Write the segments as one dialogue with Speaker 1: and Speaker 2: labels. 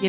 Speaker 1: Je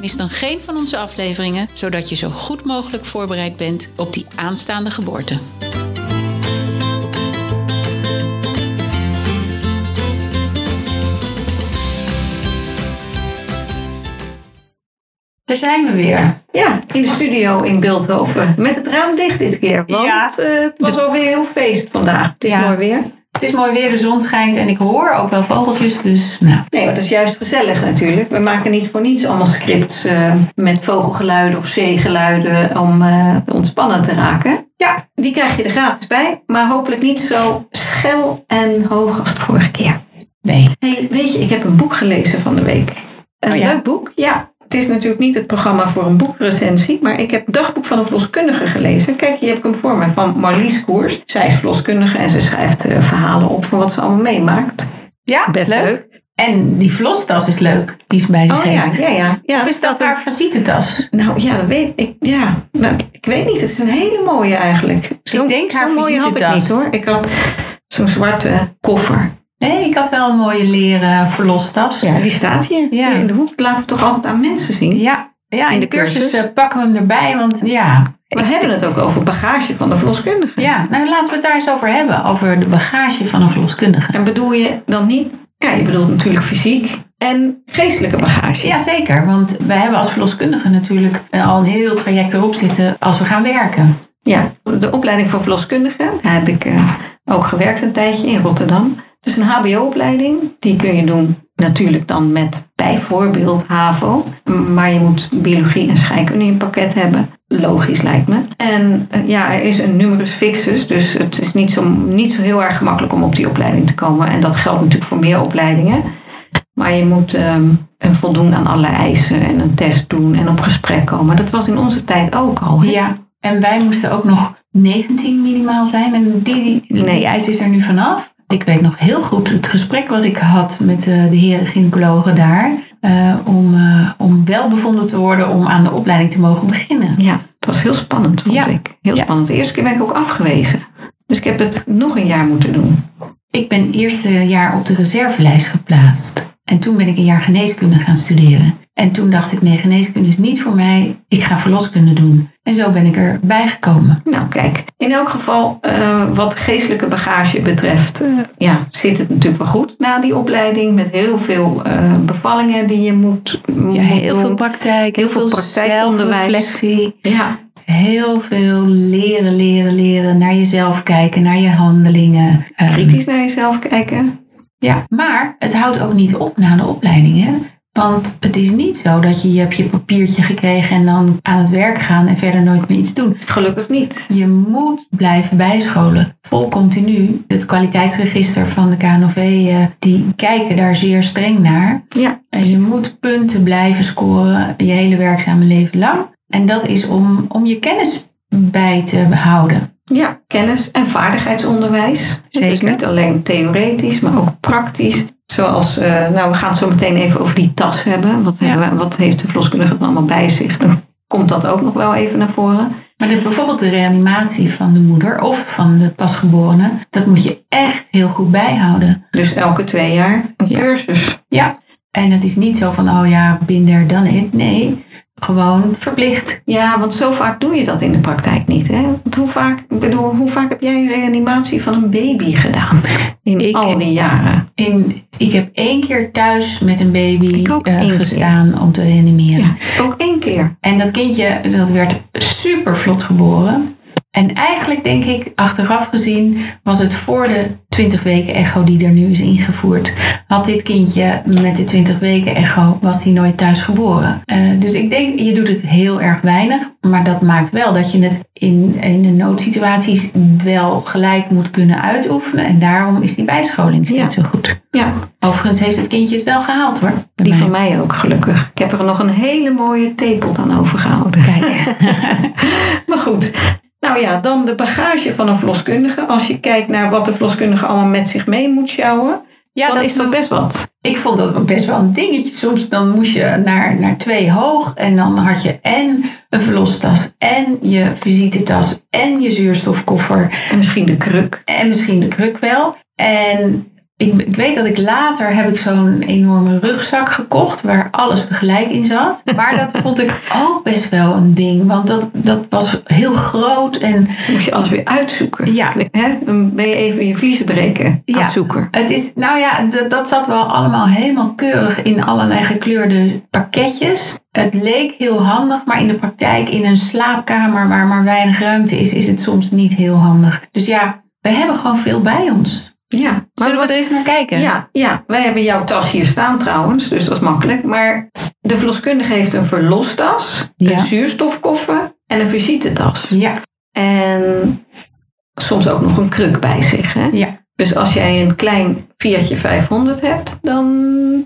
Speaker 1: Mis dan geen van onze afleveringen, zodat je zo goed mogelijk voorbereid bent op die aanstaande geboorte.
Speaker 2: Daar zijn we weer.
Speaker 3: Ja, in de studio in Beeldhoven. Met het raam dicht dit keer. Want
Speaker 2: Ja.
Speaker 3: eh, het was alweer heel feest vandaag. Het is
Speaker 2: Ja.
Speaker 3: mooi weer.
Speaker 2: Het is mooi weer, de zon schijnt en ik hoor ook wel vogeltjes. Dus nou,
Speaker 3: Nee, maar dat is juist gezellig natuurlijk. We maken niet voor niets allemaal scripts eh, met vogelgeluiden of zeegeluiden om eh, ontspannen te raken. Ja, die krijg je er gratis bij. Maar hopelijk niet zo schel en hoog als de vorige keer.
Speaker 2: nee.
Speaker 3: Hey, weet je, ik heb een boek gelezen van de week. Een
Speaker 2: Oh ja?
Speaker 3: leuk boek, ja. Het is natuurlijk niet het programma voor een boekrecensie, maar ik heb het dagboek van een verloskundige gelezen. Kijk, hier heb ik hem voor me van Marlies Koers. Zij is verloskundige en ze schrijft eh, verhalen op van wat ze allemaal meemaakt.
Speaker 2: Ja,
Speaker 3: Best leuk.
Speaker 2: En die vlostas is leuk, die is bij de
Speaker 3: Oh ja,
Speaker 2: geeft.
Speaker 3: ja, ja. ja
Speaker 2: Of is dat haar visitetas?
Speaker 3: Nou ja, dat weet ik. Ja, nou, ik weet niet. Het is een hele mooie eigenlijk. Zo,
Speaker 2: Ik denk haar
Speaker 3: zo mooie had ik
Speaker 2: visitetas.
Speaker 3: niet hoor. Ik had zo'n zwarte koffer.
Speaker 2: Nee, ik had wel een mooie leren verlostas.
Speaker 3: Ja, die staat hier,
Speaker 2: Ja.
Speaker 3: hier in de hoek. Dat laten we toch altijd aan mensen zien.
Speaker 2: ja. Ja, in
Speaker 3: In
Speaker 2: de
Speaker 3: de
Speaker 2: cursus
Speaker 3: cursus.
Speaker 2: eh, pakken we hem erbij, want ja.
Speaker 3: We hebben het ook over bagage van de verloskundige.
Speaker 2: Ja, nou laten we het daar eens over hebben. Over de bagage van een verloskundige.
Speaker 3: En bedoel je dan niet, ja, je bedoelt natuurlijk fysiek en geestelijke bagage.
Speaker 2: Ja, zeker. Want wij hebben als verloskundige natuurlijk eh, al een heel traject erop zitten als we gaan werken.
Speaker 3: Ja, de opleiding voor verloskundigen, daar heb ik eh, ook gewerkt een tijdje in Rotterdam. Het is een HBO-opleiding, die kun je doen natuurlijk dan met bijvoorbeeld HAVO. Maar je moet biologie en scheikunde in je pakket hebben. Logisch lijkt me. En eh, ja, er is een numerus fixus, dus het is niet zo, niet zo heel erg gemakkelijk om op die opleiding te komen. En dat geldt natuurlijk voor meer opleidingen. Maar je moet ehm, een voldoen aan allerlei eisen en een test doen en op gesprek komen. Dat was in onze tijd ook al. hè?
Speaker 2: Ja, en wij moesten ook nog 19 minimaal zijn. En die, die,
Speaker 3: Nee.
Speaker 2: die eis is er nu vanaf. Ik weet nog heel goed het gesprek wat ik had met eh, de heren gynaecologen daar. eh, om, eh, om wel bevonden te worden om aan de opleiding te mogen beginnen.
Speaker 3: Ja, het was heel spannend, vond
Speaker 2: Ja.
Speaker 3: ik. Heel
Speaker 2: Ja.
Speaker 3: spannend. De eerste keer ben ik ook afgewezen. Dus ik heb het nog een jaar moeten doen.
Speaker 2: Ik ben eerste jaar op de reservelijst geplaatst. En toen ben ik een jaar geneeskunde gaan studeren. En toen dacht ik, nee, geneeskunde is niet voor mij. Ik ga verloskunde doen. En zo ben ik erbij gekomen.
Speaker 3: Nou, kijk. In elk geval, eh, wat geestelijke bagage betreft, eh, ja, zit het natuurlijk wel goed na die opleiding. Met heel veel eh, bevallingen die je moet,
Speaker 2: Ja,
Speaker 3: moet
Speaker 2: heel
Speaker 3: doen.
Speaker 2: veel praktijk,
Speaker 3: Heel veel praktijkonderwijs.
Speaker 2: zelfreflectie.
Speaker 3: Ja,
Speaker 2: Heel veel leren, leren, leren. Naar jezelf kijken, naar je handelingen. Eh,
Speaker 3: kritisch naar jezelf kijken.
Speaker 2: Ja, maar het houdt ook niet op na de opleiding, hè? Want het is niet zo dat je, je hebt je papiertje gekregen en dan aan het werk gaan en verder nooit meer iets doen.
Speaker 3: Gelukkig niet.
Speaker 2: Je moet blijven bijscholen. Vol continu. Het kwaliteitsregister van de KNOV, eh, die kijken daar zeer streng naar.
Speaker 3: Ja.
Speaker 2: En je moet punten blijven scoren je hele werkzame leven lang. En dat is om, om je kennis bij te behouden.
Speaker 3: Ja, kennis- en vaardigheidsonderwijs. Dus
Speaker 2: Zeker.
Speaker 3: niet alleen theoretisch, maar ook praktisch. Zoals, eh, nou we gaan het zo meteen even over die tas hebben. Wat,
Speaker 2: Ja.
Speaker 3: hebben we- wat heeft de verloskundige dan allemaal bij zich? Dan komt dat ook nog wel even naar voren.
Speaker 2: Maar de, bijvoorbeeld de reanimatie van de moeder of van de pasgeborene, dat moet je echt heel goed bijhouden.
Speaker 3: Dus elke twee jaar een
Speaker 2: Ja.
Speaker 3: cursus.
Speaker 2: En het is niet zo van, oh ja, binder dan it. Nee, gewoon verplicht.
Speaker 3: Ja, want zo vaak doe je dat in de praktijk niet. Hè? Want hoe vaak, ik bedoel, hoe vaak heb jij een reanimatie van een baby gedaan? In
Speaker 2: Ik-
Speaker 3: al die jaren.
Speaker 2: In, ik heb één keer thuis met een baby
Speaker 3: Ik ook
Speaker 2: eh,
Speaker 3: één keer.
Speaker 2: gestaan om te reanimeren.
Speaker 3: Ja, ook één keer.
Speaker 2: En dat kindje dat werd super vlot geboren. En eigenlijk denk ik, achteraf gezien, was het voor de 20 weken echo die er nu is ingevoerd. Had dit kindje met de 20 weken echo, was hij nooit thuis geboren. Eh, dus ik denk, je doet het heel erg weinig. Maar dat maakt wel dat je het in, in de noodsituaties wel gelijk moet kunnen uitoefenen. En daarom is die bijscholing
Speaker 3: Ja.
Speaker 2: niet zo goed.
Speaker 3: Ja,
Speaker 2: Overigens heeft het kindje het wel gehaald hoor. bij
Speaker 3: die
Speaker 2: mij.
Speaker 3: van mij ook gelukkig. Ik heb er nog een hele mooie tepelt aan overgehouden.
Speaker 2: Kijk.
Speaker 3: Maar goed, Nou ja, dan de bagage van een verloskundige. Als je kijkt naar wat de verloskundige allemaal met zich mee moet sjouwen,
Speaker 2: Ja,
Speaker 3: dan is dat best wat.
Speaker 2: Ik vond dat ook best wel een dingetje. Soms dan moest je naar, naar twee hoog en dan had je en een verlostas en je visitetas en je zuurstofkoffer
Speaker 3: En misschien de kruk.
Speaker 2: en misschien de kruk wel. En ik, ik weet dat ik later heb ik zo'n enorme rugzak gekocht waar alles tegelijk in zat. Maar dat vond ik ook best wel een ding, want dat, dat was heel groot en
Speaker 3: Dan moet je alles weer uitzoeken.
Speaker 2: ja,
Speaker 3: Hè? Dan ben je even je vliezen breken,
Speaker 2: Ja.
Speaker 3: uitzoeken.
Speaker 2: Het is, nou ja, d- dat zat wel allemaal helemaal keurig in allerlei gekleurde pakketjes. Het leek heel handig, maar in de praktijk in een slaapkamer waar maar weinig ruimte is, is het soms niet heel handig. Dus ja, we hebben gewoon veel bij ons.
Speaker 3: Ja, maar
Speaker 2: Zullen we er eens naar kijken?
Speaker 3: Ja, ja, wij hebben jouw tas hier staan trouwens, dus dat is makkelijk. Maar de verloskundige heeft een verlostas,
Speaker 2: Ja.
Speaker 3: een zuurstofkoffer en een visitetas.
Speaker 2: Ja,
Speaker 3: En soms ook nog een kruk bij zich. Hè?
Speaker 2: ja.
Speaker 3: Dus als jij een klein Fiatje 500 hebt, dan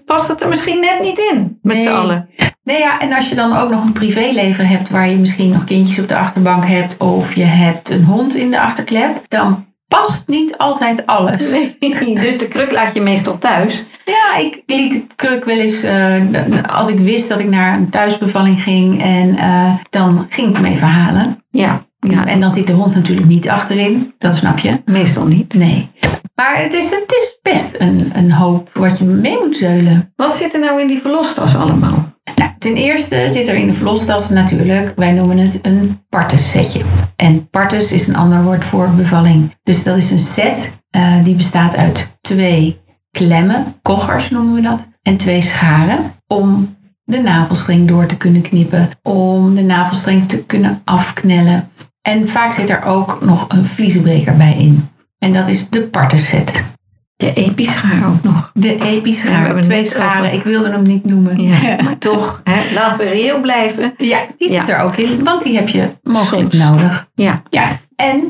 Speaker 3: past het er misschien net niet in met
Speaker 2: Nee.
Speaker 3: z'n allen.
Speaker 2: Nee, ja, en als je dan ook nog een privéleven hebt waar je misschien nog kindjes op de achterbank hebt of je hebt een hond in de achterklep, dan past niet altijd alles.
Speaker 3: Nee, dus de kruk laat je meestal thuis.
Speaker 2: Ja, ik liet de kruk wel eens, eh, d- als ik wist dat ik naar een thuisbevalling ging, en eh, dan ging ik hem even halen.
Speaker 3: Ja, ja
Speaker 2: En dan zit de hond natuurlijk niet achterin, dat snap je.
Speaker 3: meestal niet.
Speaker 2: Nee. Maar het is, het is best een, een hoop wat je mee moet zeulen.
Speaker 3: Wat zit er nou in die verlostas allemaal?
Speaker 2: Nou, ten eerste zit er in de verlostas natuurlijk, wij noemen het een partussetje. En partus is een ander woord voor bevalling. Dus dat is een set eh, die bestaat uit twee klemmen, koggers noemen we dat, en twee scharen om de navelstreng door te kunnen knippen, om de navelstreng te kunnen afknellen. En vaak zit er ook nog een vliezenbreker bij in. En dat is de parterset.
Speaker 3: De epischaar ook nog.
Speaker 2: De epischaar,
Speaker 3: Ja, we hebben
Speaker 2: twee
Speaker 3: het net
Speaker 2: scharen,
Speaker 3: over.
Speaker 2: ik wilde hem niet noemen.
Speaker 3: Ja, maar toch, hè, laten we reëel blijven.
Speaker 2: Ja, die zit
Speaker 3: Ja.
Speaker 2: er ook in, want die heb je mogelijk
Speaker 3: Soms.
Speaker 2: nodig.
Speaker 3: Ja.
Speaker 2: ja. En,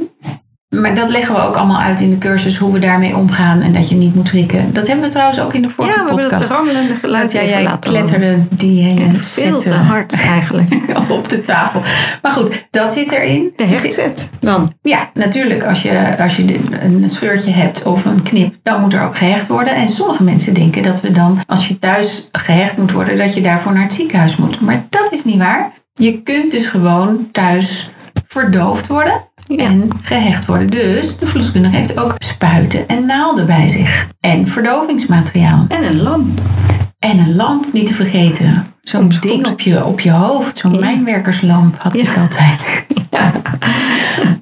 Speaker 2: maar dat leggen we ook allemaal uit in de cursus, hoe we daarmee omgaan en dat je niet moet schrikken. Dat hebben we trouwens ook in de vorige
Speaker 3: Ja, we hebben dat
Speaker 2: podcast.
Speaker 3: rammelende geluid
Speaker 2: Want jij,
Speaker 3: even
Speaker 2: jij
Speaker 3: laten
Speaker 2: kletterde die
Speaker 3: horen.
Speaker 2: hele
Speaker 3: Ja, veel
Speaker 2: set,
Speaker 3: te
Speaker 2: eh,
Speaker 3: hard eigenlijk.
Speaker 2: op de tafel. Maar goed, dat zit erin.
Speaker 3: De hechtset dan.
Speaker 2: Ja, natuurlijk. Als je, als je de- een scheurtje hebt of een knip, dan moet er ook gehecht worden. En sommige mensen denken dat we dan, als je thuis gehecht moet worden, dat je daarvoor naar het ziekenhuis moet. Maar dat is niet waar. Je kunt dus gewoon thuis verdoofd worden
Speaker 3: Ja.
Speaker 2: en gehecht worden. Dus de verloskundige heeft ook spuiten en naalden bij zich. En verdovingsmateriaal.
Speaker 3: En een lamp.
Speaker 2: En een lamp niet te vergeten. Zo'n
Speaker 3: Soms
Speaker 2: ding
Speaker 3: goed.
Speaker 2: op je, op je hoofd. Zo'n
Speaker 3: Ja.
Speaker 2: mijnwerkerslamp had ik
Speaker 3: Ja.
Speaker 2: altijd.
Speaker 3: Ja.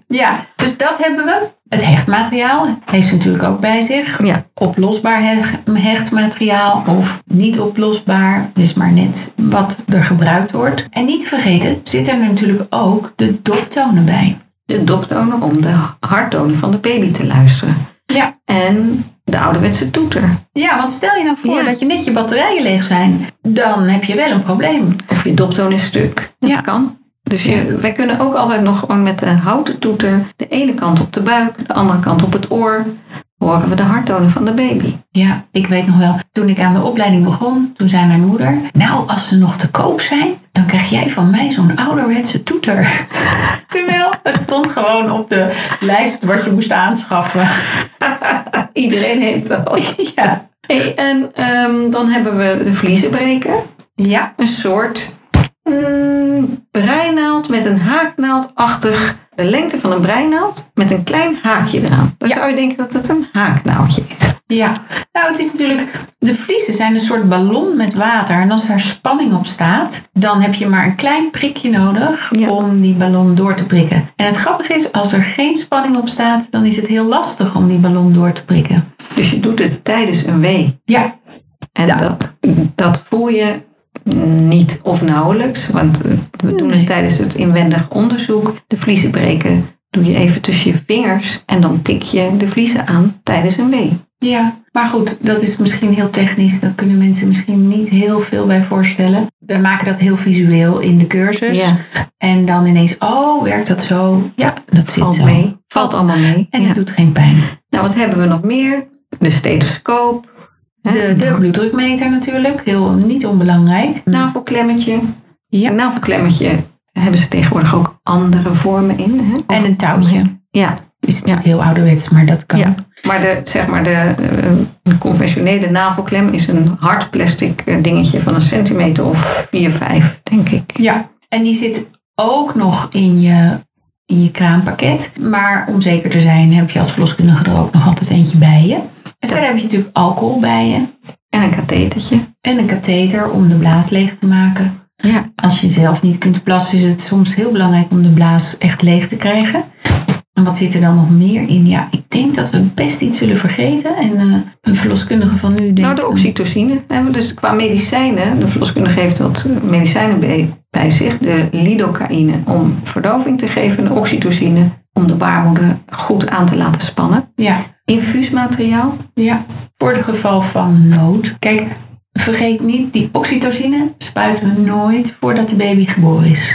Speaker 2: Ja, dus dat hebben we. Het hechtmateriaal heeft ze natuurlijk ook bij zich.
Speaker 3: Ja.
Speaker 2: Oplosbaar heg- hechtmateriaal of niet oplosbaar. Dus maar net wat er gebruikt wordt. En niet te vergeten zit er natuurlijk ook de doptonen bij.
Speaker 3: De doptonen om de harttonen van de baby te luisteren.
Speaker 2: Ja.
Speaker 3: En de ouderwetse toeter.
Speaker 2: Ja, want stel je nou voor
Speaker 3: Ja.
Speaker 2: dat je net je batterijen leeg zijn. Dan heb je wel een probleem.
Speaker 3: Of je doptoon is stuk. Dat
Speaker 2: Ja.
Speaker 3: kan. Dus je, wij kunnen ook altijd nog gewoon met de houten toeter de ene kant op de buik, de andere kant op het oor, horen we de harttonen van de baby.
Speaker 2: Ja, ik weet nog wel. Toen ik aan de opleiding begon, toen zei mijn moeder... Nou, als ze nog te koop zijn, dan krijg jij van mij zo'n ouderwetse toeter. Terwijl het stond gewoon op de lijst wat je moest aanschaffen.
Speaker 3: Iedereen heeft dat.
Speaker 2: ja.
Speaker 3: Hey, en ehm, dan hebben we de vliezenbreker.
Speaker 2: Ja.
Speaker 3: een soort mm, breinaald met een haaknaaldachtig. De lengte van een breinaald met een klein haakje eraan. Dan
Speaker 2: Ja.
Speaker 3: zou je denken dat het een haaknaaldje is.
Speaker 2: Ja. Nou, het is natuurlijk... De vliezen zijn een soort ballon met water. En als daar spanning op staat, dan heb je maar een klein prikje nodig
Speaker 3: Ja.
Speaker 2: om die ballon door te prikken. En het grappige is, als er geen spanning op staat, dan is het heel lastig om die ballon door te prikken.
Speaker 3: Dus je doet het tijdens een wee.
Speaker 2: Ja,
Speaker 3: En
Speaker 2: Ja.
Speaker 3: dat, dat voel je niet of nauwelijks. Want eh, we doen
Speaker 2: Nee.
Speaker 3: het tijdens het inwendig onderzoek. De vliezen breken doe je even tussen je vingers. En dan tik je de vliezen aan tijdens een wee.
Speaker 2: Ja, maar goed, dat is misschien heel technisch. Daar kunnen mensen misschien niet heel veel bij voorstellen. We maken dat heel visueel in de cursus. En dan ineens, oh, werkt dat zo? Ja, dat zit
Speaker 3: valt
Speaker 2: zo.
Speaker 3: mee. Valt allemaal mee.
Speaker 2: En
Speaker 3: ja.
Speaker 2: het doet geen pijn.
Speaker 3: Nou, wat hebben we nog meer? De stethoscoop. hè,
Speaker 2: De, de
Speaker 3: Nou,
Speaker 2: bloeddrukmeter natuurlijk, heel niet onbelangrijk.
Speaker 3: Een navelklemmetje.
Speaker 2: Ja.
Speaker 3: Een navelklemmetje hebben ze tegenwoordig ook andere vormen in. Hè?
Speaker 2: En een touwtje.
Speaker 3: Ja,
Speaker 2: Is natuurlijk heel ouderwets, maar dat kan.
Speaker 3: Ja. maar de, zeg maar de, eh, de conventionele navelklem is een hard plastic eh, dingetje van een centimeter of 4, 5, denk ik.
Speaker 2: Ja, en die zit ook nog in je, in je kraampakket. Maar om zeker te zijn heb je als verloskundige er ook nog altijd eentje bij je. En verder heb je natuurlijk alcohol bij je.
Speaker 3: En een kathetertje.
Speaker 2: En een katheter om de blaas leeg te maken.
Speaker 3: Ja.
Speaker 2: Als je zelf niet kunt plassen is het soms heel belangrijk om de blaas echt leeg te krijgen. En wat zit er dan nog meer in? Ja, ik denk dat we best iets zullen vergeten. En eh, een verloskundige van nu denkt...
Speaker 3: Nou, de oxytocine. hè, want Dus qua medicijnen, de verloskundige heeft wat eh, medicijnen bij, bij zich. De lidocaïne om verdoving te geven en de oxytocine om de baarmoeder goed aan te laten spannen.
Speaker 2: Ja,
Speaker 3: Infuusmateriaal.
Speaker 2: Ja, voor het geval van nood. Kijk, vergeet niet, die oxytocine spuiten we nooit voordat de baby geboren is.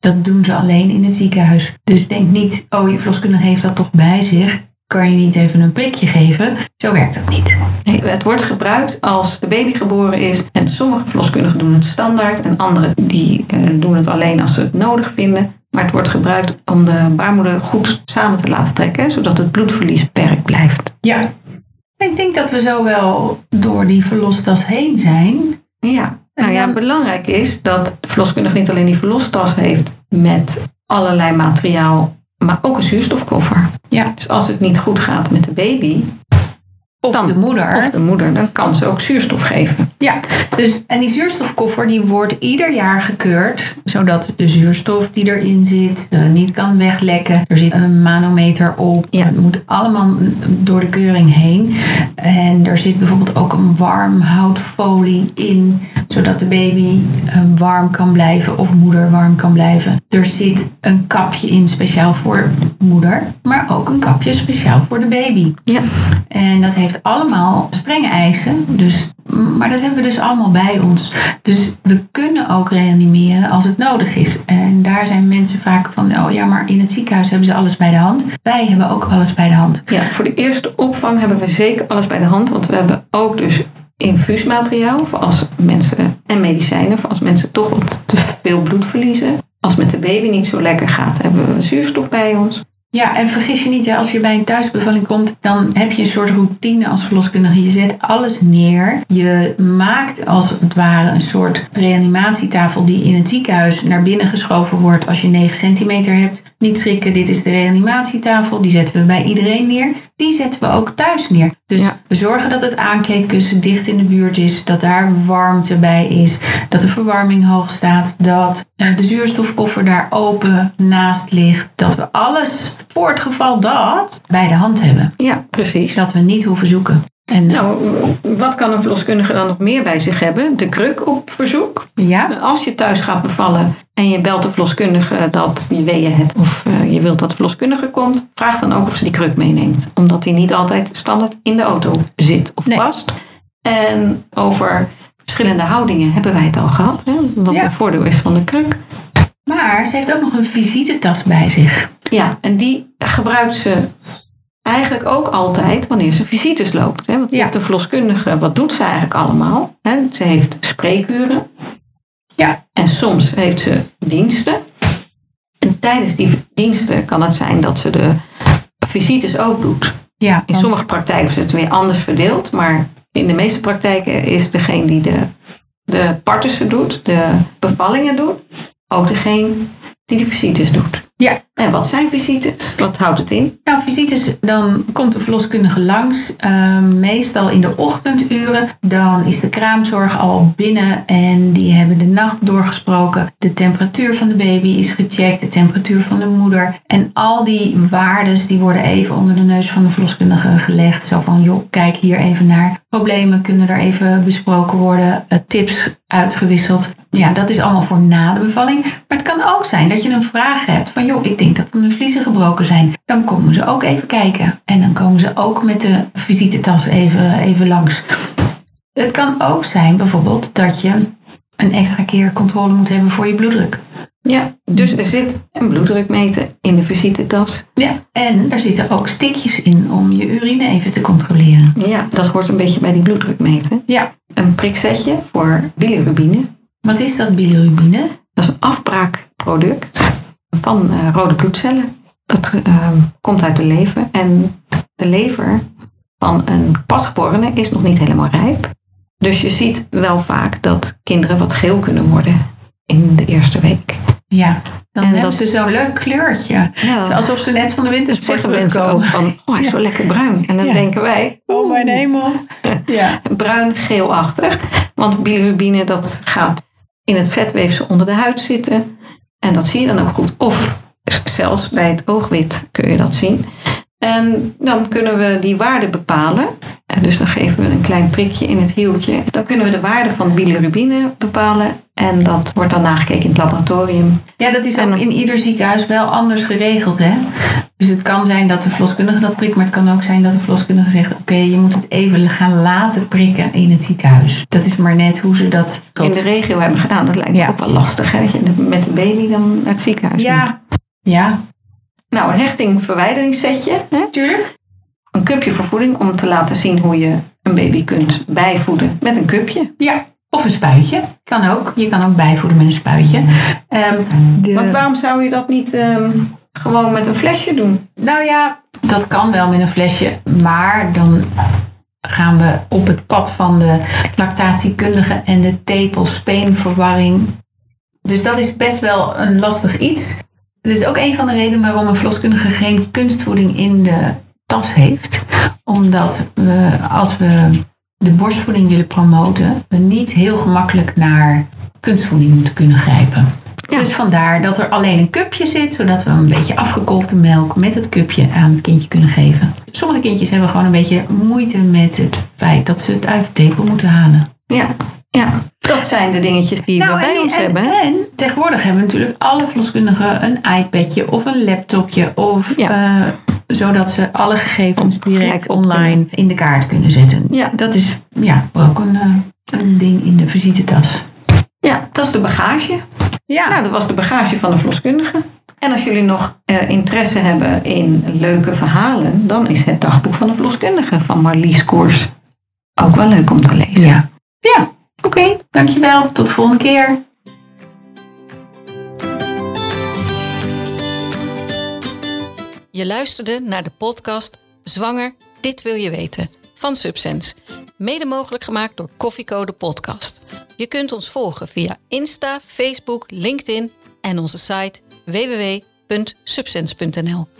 Speaker 2: Dat doen ze alleen in het ziekenhuis. Dus denk niet, oh je verloskundige heeft dat toch bij zich. Kan je niet even een prikje geven? Zo werkt dat niet.
Speaker 3: Nee, het wordt gebruikt als de baby geboren is. En sommige verloskundigen doen het standaard. En anderen die eh, doen het alleen als ze het nodig vinden. Maar het wordt gebruikt om de baarmoeder goed samen te laten trekken. hè, Zodat het bloedverlies beperkt blijft.
Speaker 2: Ja. Ik denk dat we zo wel door die verlostas heen zijn.
Speaker 3: Ja, nou ja,
Speaker 2: dan-
Speaker 3: belangrijk is dat de verloskundige niet alleen die verlostas heeft met allerlei materiaal, maar ook een zuurstofkoffer.
Speaker 2: Ja.
Speaker 3: Dus als het niet goed gaat met de baby
Speaker 2: Of
Speaker 3: Dan.
Speaker 2: de moeder.
Speaker 3: of de moeder, dan kan ze ook zuurstof geven.
Speaker 2: Ja, dus, en die zuurstofkoffer die wordt ieder jaar gekeurd, zodat de zuurstof die erin zit eh, niet kan weglekken. Er zit een manometer op.
Speaker 3: Ja.
Speaker 2: Het moet allemaal door de keuring heen. En er zit bijvoorbeeld ook een warm houtfolie in, zodat de baby eh, warm kan blijven of moeder warm kan blijven. Er zit een kapje in speciaal voor moeder, maar ook een kapje speciaal voor de baby.
Speaker 3: Ja.
Speaker 2: En dat heeft allemaal strenge eisen. Dus, maar dat hebben we dus allemaal bij ons. Dus we kunnen ook reanimeren als het nodig is. En daar zijn mensen vaak van, oh ja, maar in het ziekenhuis hebben ze alles bij de hand. Wij hebben ook alles bij de hand.
Speaker 3: Ja, voor de eerste opvang hebben we zeker alles bij de hand, want we hebben ook dus infuusmateriaal voor als mensen en medicijnen voor als mensen toch wat te veel bloed verliezen. Als het met de baby niet zo lekker gaat, hebben we zuurstof bij ons.
Speaker 2: Ja, en vergis je niet, hè, als je bij een thuisbevalling komt, dan heb je een soort routine als verloskundige. Je zet alles neer. Je maakt als het ware een soort reanimatietafel die in het ziekenhuis naar binnen geschoven wordt als je 9 centimeter hebt. Niet schrikken, dit is de reanimatietafel. Die zetten we bij iedereen neer. Die zetten we ook thuis neer. Dus
Speaker 3: Ja.
Speaker 2: we zorgen dat het aankleedkussen dicht in de buurt is, dat daar warmte bij is, dat de verwarming hoog staat, dat eh, de zuurstofkoffer daar open naast ligt, dat we alles voor het geval dat bij de hand hebben,
Speaker 3: Ja, precies.
Speaker 2: zodat we niet hoeven zoeken. En eh,
Speaker 3: Nou, wat kan een verloskundige dan nog meer bij zich hebben? De kruk op verzoek.
Speaker 2: ja,
Speaker 3: Als je thuis gaat bevallen en je belt de verloskundige dat je weeën hebt of eh, je wilt dat de verloskundige komt, vraag dan ook of ze die kruk meeneemt. Omdat die niet altijd standaard in de auto zit of
Speaker 2: Nee.
Speaker 3: past. En over verschillende houdingen hebben wij het al gehad. Hè? Wat
Speaker 2: Ja.
Speaker 3: een voordeel is van de kruk.
Speaker 2: maar ze heeft ook nog een visitetas bij zich.
Speaker 3: Ja, en die gebruikt ze eigenlijk ook altijd wanneer ze visites loopt. Hè? Want je
Speaker 2: Ja.
Speaker 3: hebt de verloskundige, wat doet ze eigenlijk allemaal? Hè? Ze heeft spreekuren.
Speaker 2: Ja.
Speaker 3: En soms heeft ze diensten. En tijdens die diensten kan het zijn dat ze de visites ook doet.
Speaker 2: Ja,
Speaker 3: In
Speaker 2: want-
Speaker 3: sommige praktijken is het weer anders verdeeld, maar in de meeste praktijken is degene die de, de partussen doet, de bevallingen doet, ook degene die de visites doet.
Speaker 2: Ja.
Speaker 3: En wat zijn visites? Wat houdt het in?
Speaker 2: Nou, visites, dan komt de verloskundige langs, eh, meestal in de ochtenduren. Dan is de kraamzorg al binnen en die hebben de nacht doorgesproken. De temperatuur van de baby is gecheckt, de temperatuur van de moeder. En al die waardes die worden even onder de neus van de verloskundige gelegd. Zo van, joh, kijk hier even naar. Problemen kunnen er even besproken worden, eh, tips uitgewisseld. Ja, dat is allemaal voor na de bevalling. Maar het kan ook zijn dat je een vraag hebt van joh, ik denk dat mijn vliezen gebroken zijn. Dan komen ze ook even kijken. En dan komen ze ook met de visitetas even, even langs. Het kan ook zijn bijvoorbeeld dat je een extra keer controle moet hebben voor je bloeddruk.
Speaker 3: Ja, dus er zit een bloeddrukmeter in de visitetas.
Speaker 2: Ja. En er zitten ook stikjes in om je urine even te controleren.
Speaker 3: Ja, dat hoort een beetje bij die bloeddrukmeter.
Speaker 2: Ja.
Speaker 3: Een priksetje voor bilirubine.
Speaker 2: Wat is dat bilirubine?
Speaker 3: Dat is een afbraak product van eh, rode bloedcellen. Dat eh, komt uit de lever. En de lever van een pasgeborene is nog niet helemaal rijp. Dus je ziet wel vaak dat kinderen wat geel kunnen worden in de eerste week.
Speaker 2: Ja, dan
Speaker 3: En
Speaker 2: hebben
Speaker 3: dat-
Speaker 2: ze zo'n leuk kleurtje.
Speaker 3: Ja,
Speaker 2: Alsof ze net van de wintersport
Speaker 3: zeggen mensen ook
Speaker 2: terugkomen.
Speaker 3: van, oh hij is zo lekker bruin. En dan
Speaker 2: Ja.
Speaker 3: denken wij,
Speaker 2: Oh mijn hemel. Ja.
Speaker 3: bruin-geelachtig. Want bilirubine dat gaat in het vetweefsel onder de huid zitten. En dat zie je dan ook goed. Of zelfs bij het oogwit kun je dat zien. En dan kunnen we die waarde bepalen. En dus dan geven we een klein prikje in het hieltje. Dan kunnen we de waarde van bilirubine bepalen. En dat wordt dan nagekeken in het laboratorium.
Speaker 2: ja, dat is
Speaker 3: En
Speaker 2: ook
Speaker 3: dan-
Speaker 2: in ieder ziekenhuis wel anders geregeld. Hè? Dus het kan zijn dat de verloskundige dat prikt, maar het kan ook zijn dat de verloskundige zegt: Oké, je moet het even gaan laten prikken in het ziekenhuis. Dat is maar net hoe ze dat.
Speaker 3: In de regio hebben gedaan. Dat lijkt
Speaker 2: Ja.
Speaker 3: me ook wel lastig. Hè? Dat je met de baby dan naar het ziekenhuis moet.
Speaker 2: Ja, ja,
Speaker 3: Nou, een hechting-verwijderingssetje. Hè?
Speaker 2: tuurlijk.
Speaker 3: een cupje voor voeding om te laten zien hoe je een baby kunt bijvoeden met een cupje.
Speaker 2: Ja. Of een spuitje. Kan ook. Je kan ook bijvoeden met een spuitje. Ehm, de-
Speaker 3: Want waarom zou je dat niet ehm, gewoon met een flesje doen?
Speaker 2: Nou ja, dat kan wel met een flesje, maar dan gaan we op het pad van de lactatiekundige en de tepelspeenverwarring. Dus dat is best wel een lastig iets. Dit is ook een van de redenen waarom een verloskundige geen kunstvoeding in de tas heeft. Omdat we, als we de borstvoeding willen promoten, we niet heel gemakkelijk naar kunstvoeding moeten kunnen grijpen.
Speaker 3: Ja.
Speaker 2: Dus vandaar dat er alleen een cupje zit, zodat we een beetje afgekolfde melk met het cupje aan het kindje kunnen geven. Sommige kindjes hebben gewoon een beetje moeite met het feit dat ze het uit de tepel moeten halen.
Speaker 3: Ja, ja. dat zijn de dingetjes die we bij
Speaker 2: Nou, en,
Speaker 3: ons
Speaker 2: en-
Speaker 3: hebben. hè?
Speaker 2: En tegenwoordig hebben natuurlijk alle verloskundigen een iPadje of een laptopje. Of,
Speaker 3: Ja.
Speaker 2: eh, zodat ze alle gegevens
Speaker 3: Om
Speaker 2: direct
Speaker 3: gelijk op
Speaker 2: online in de kaart kunnen zetten.
Speaker 3: Ja.
Speaker 2: Dat is ja, ook een, eh, een ding in de visitetas.
Speaker 3: ja, dat is de bagage.
Speaker 2: Ja.
Speaker 3: Nou, dat was de bagage van de verloskundige. En als jullie nog eh, interesse hebben in leuke verhalen, dan is het dagboek van de verloskundige van Marlies Koers ook wel leuk om te lezen.
Speaker 2: ja. Ja,
Speaker 3: Oké,
Speaker 2: dankjewel. Tot de volgende keer.
Speaker 4: Je luisterde naar de podcast Zwanger, dit wil je weten van Subsense. Mede mogelijk gemaakt door Koffiecode Podcast. Je kunt ons volgen via Insta, Facebook, LinkedIn en onze site www.subsense.nl.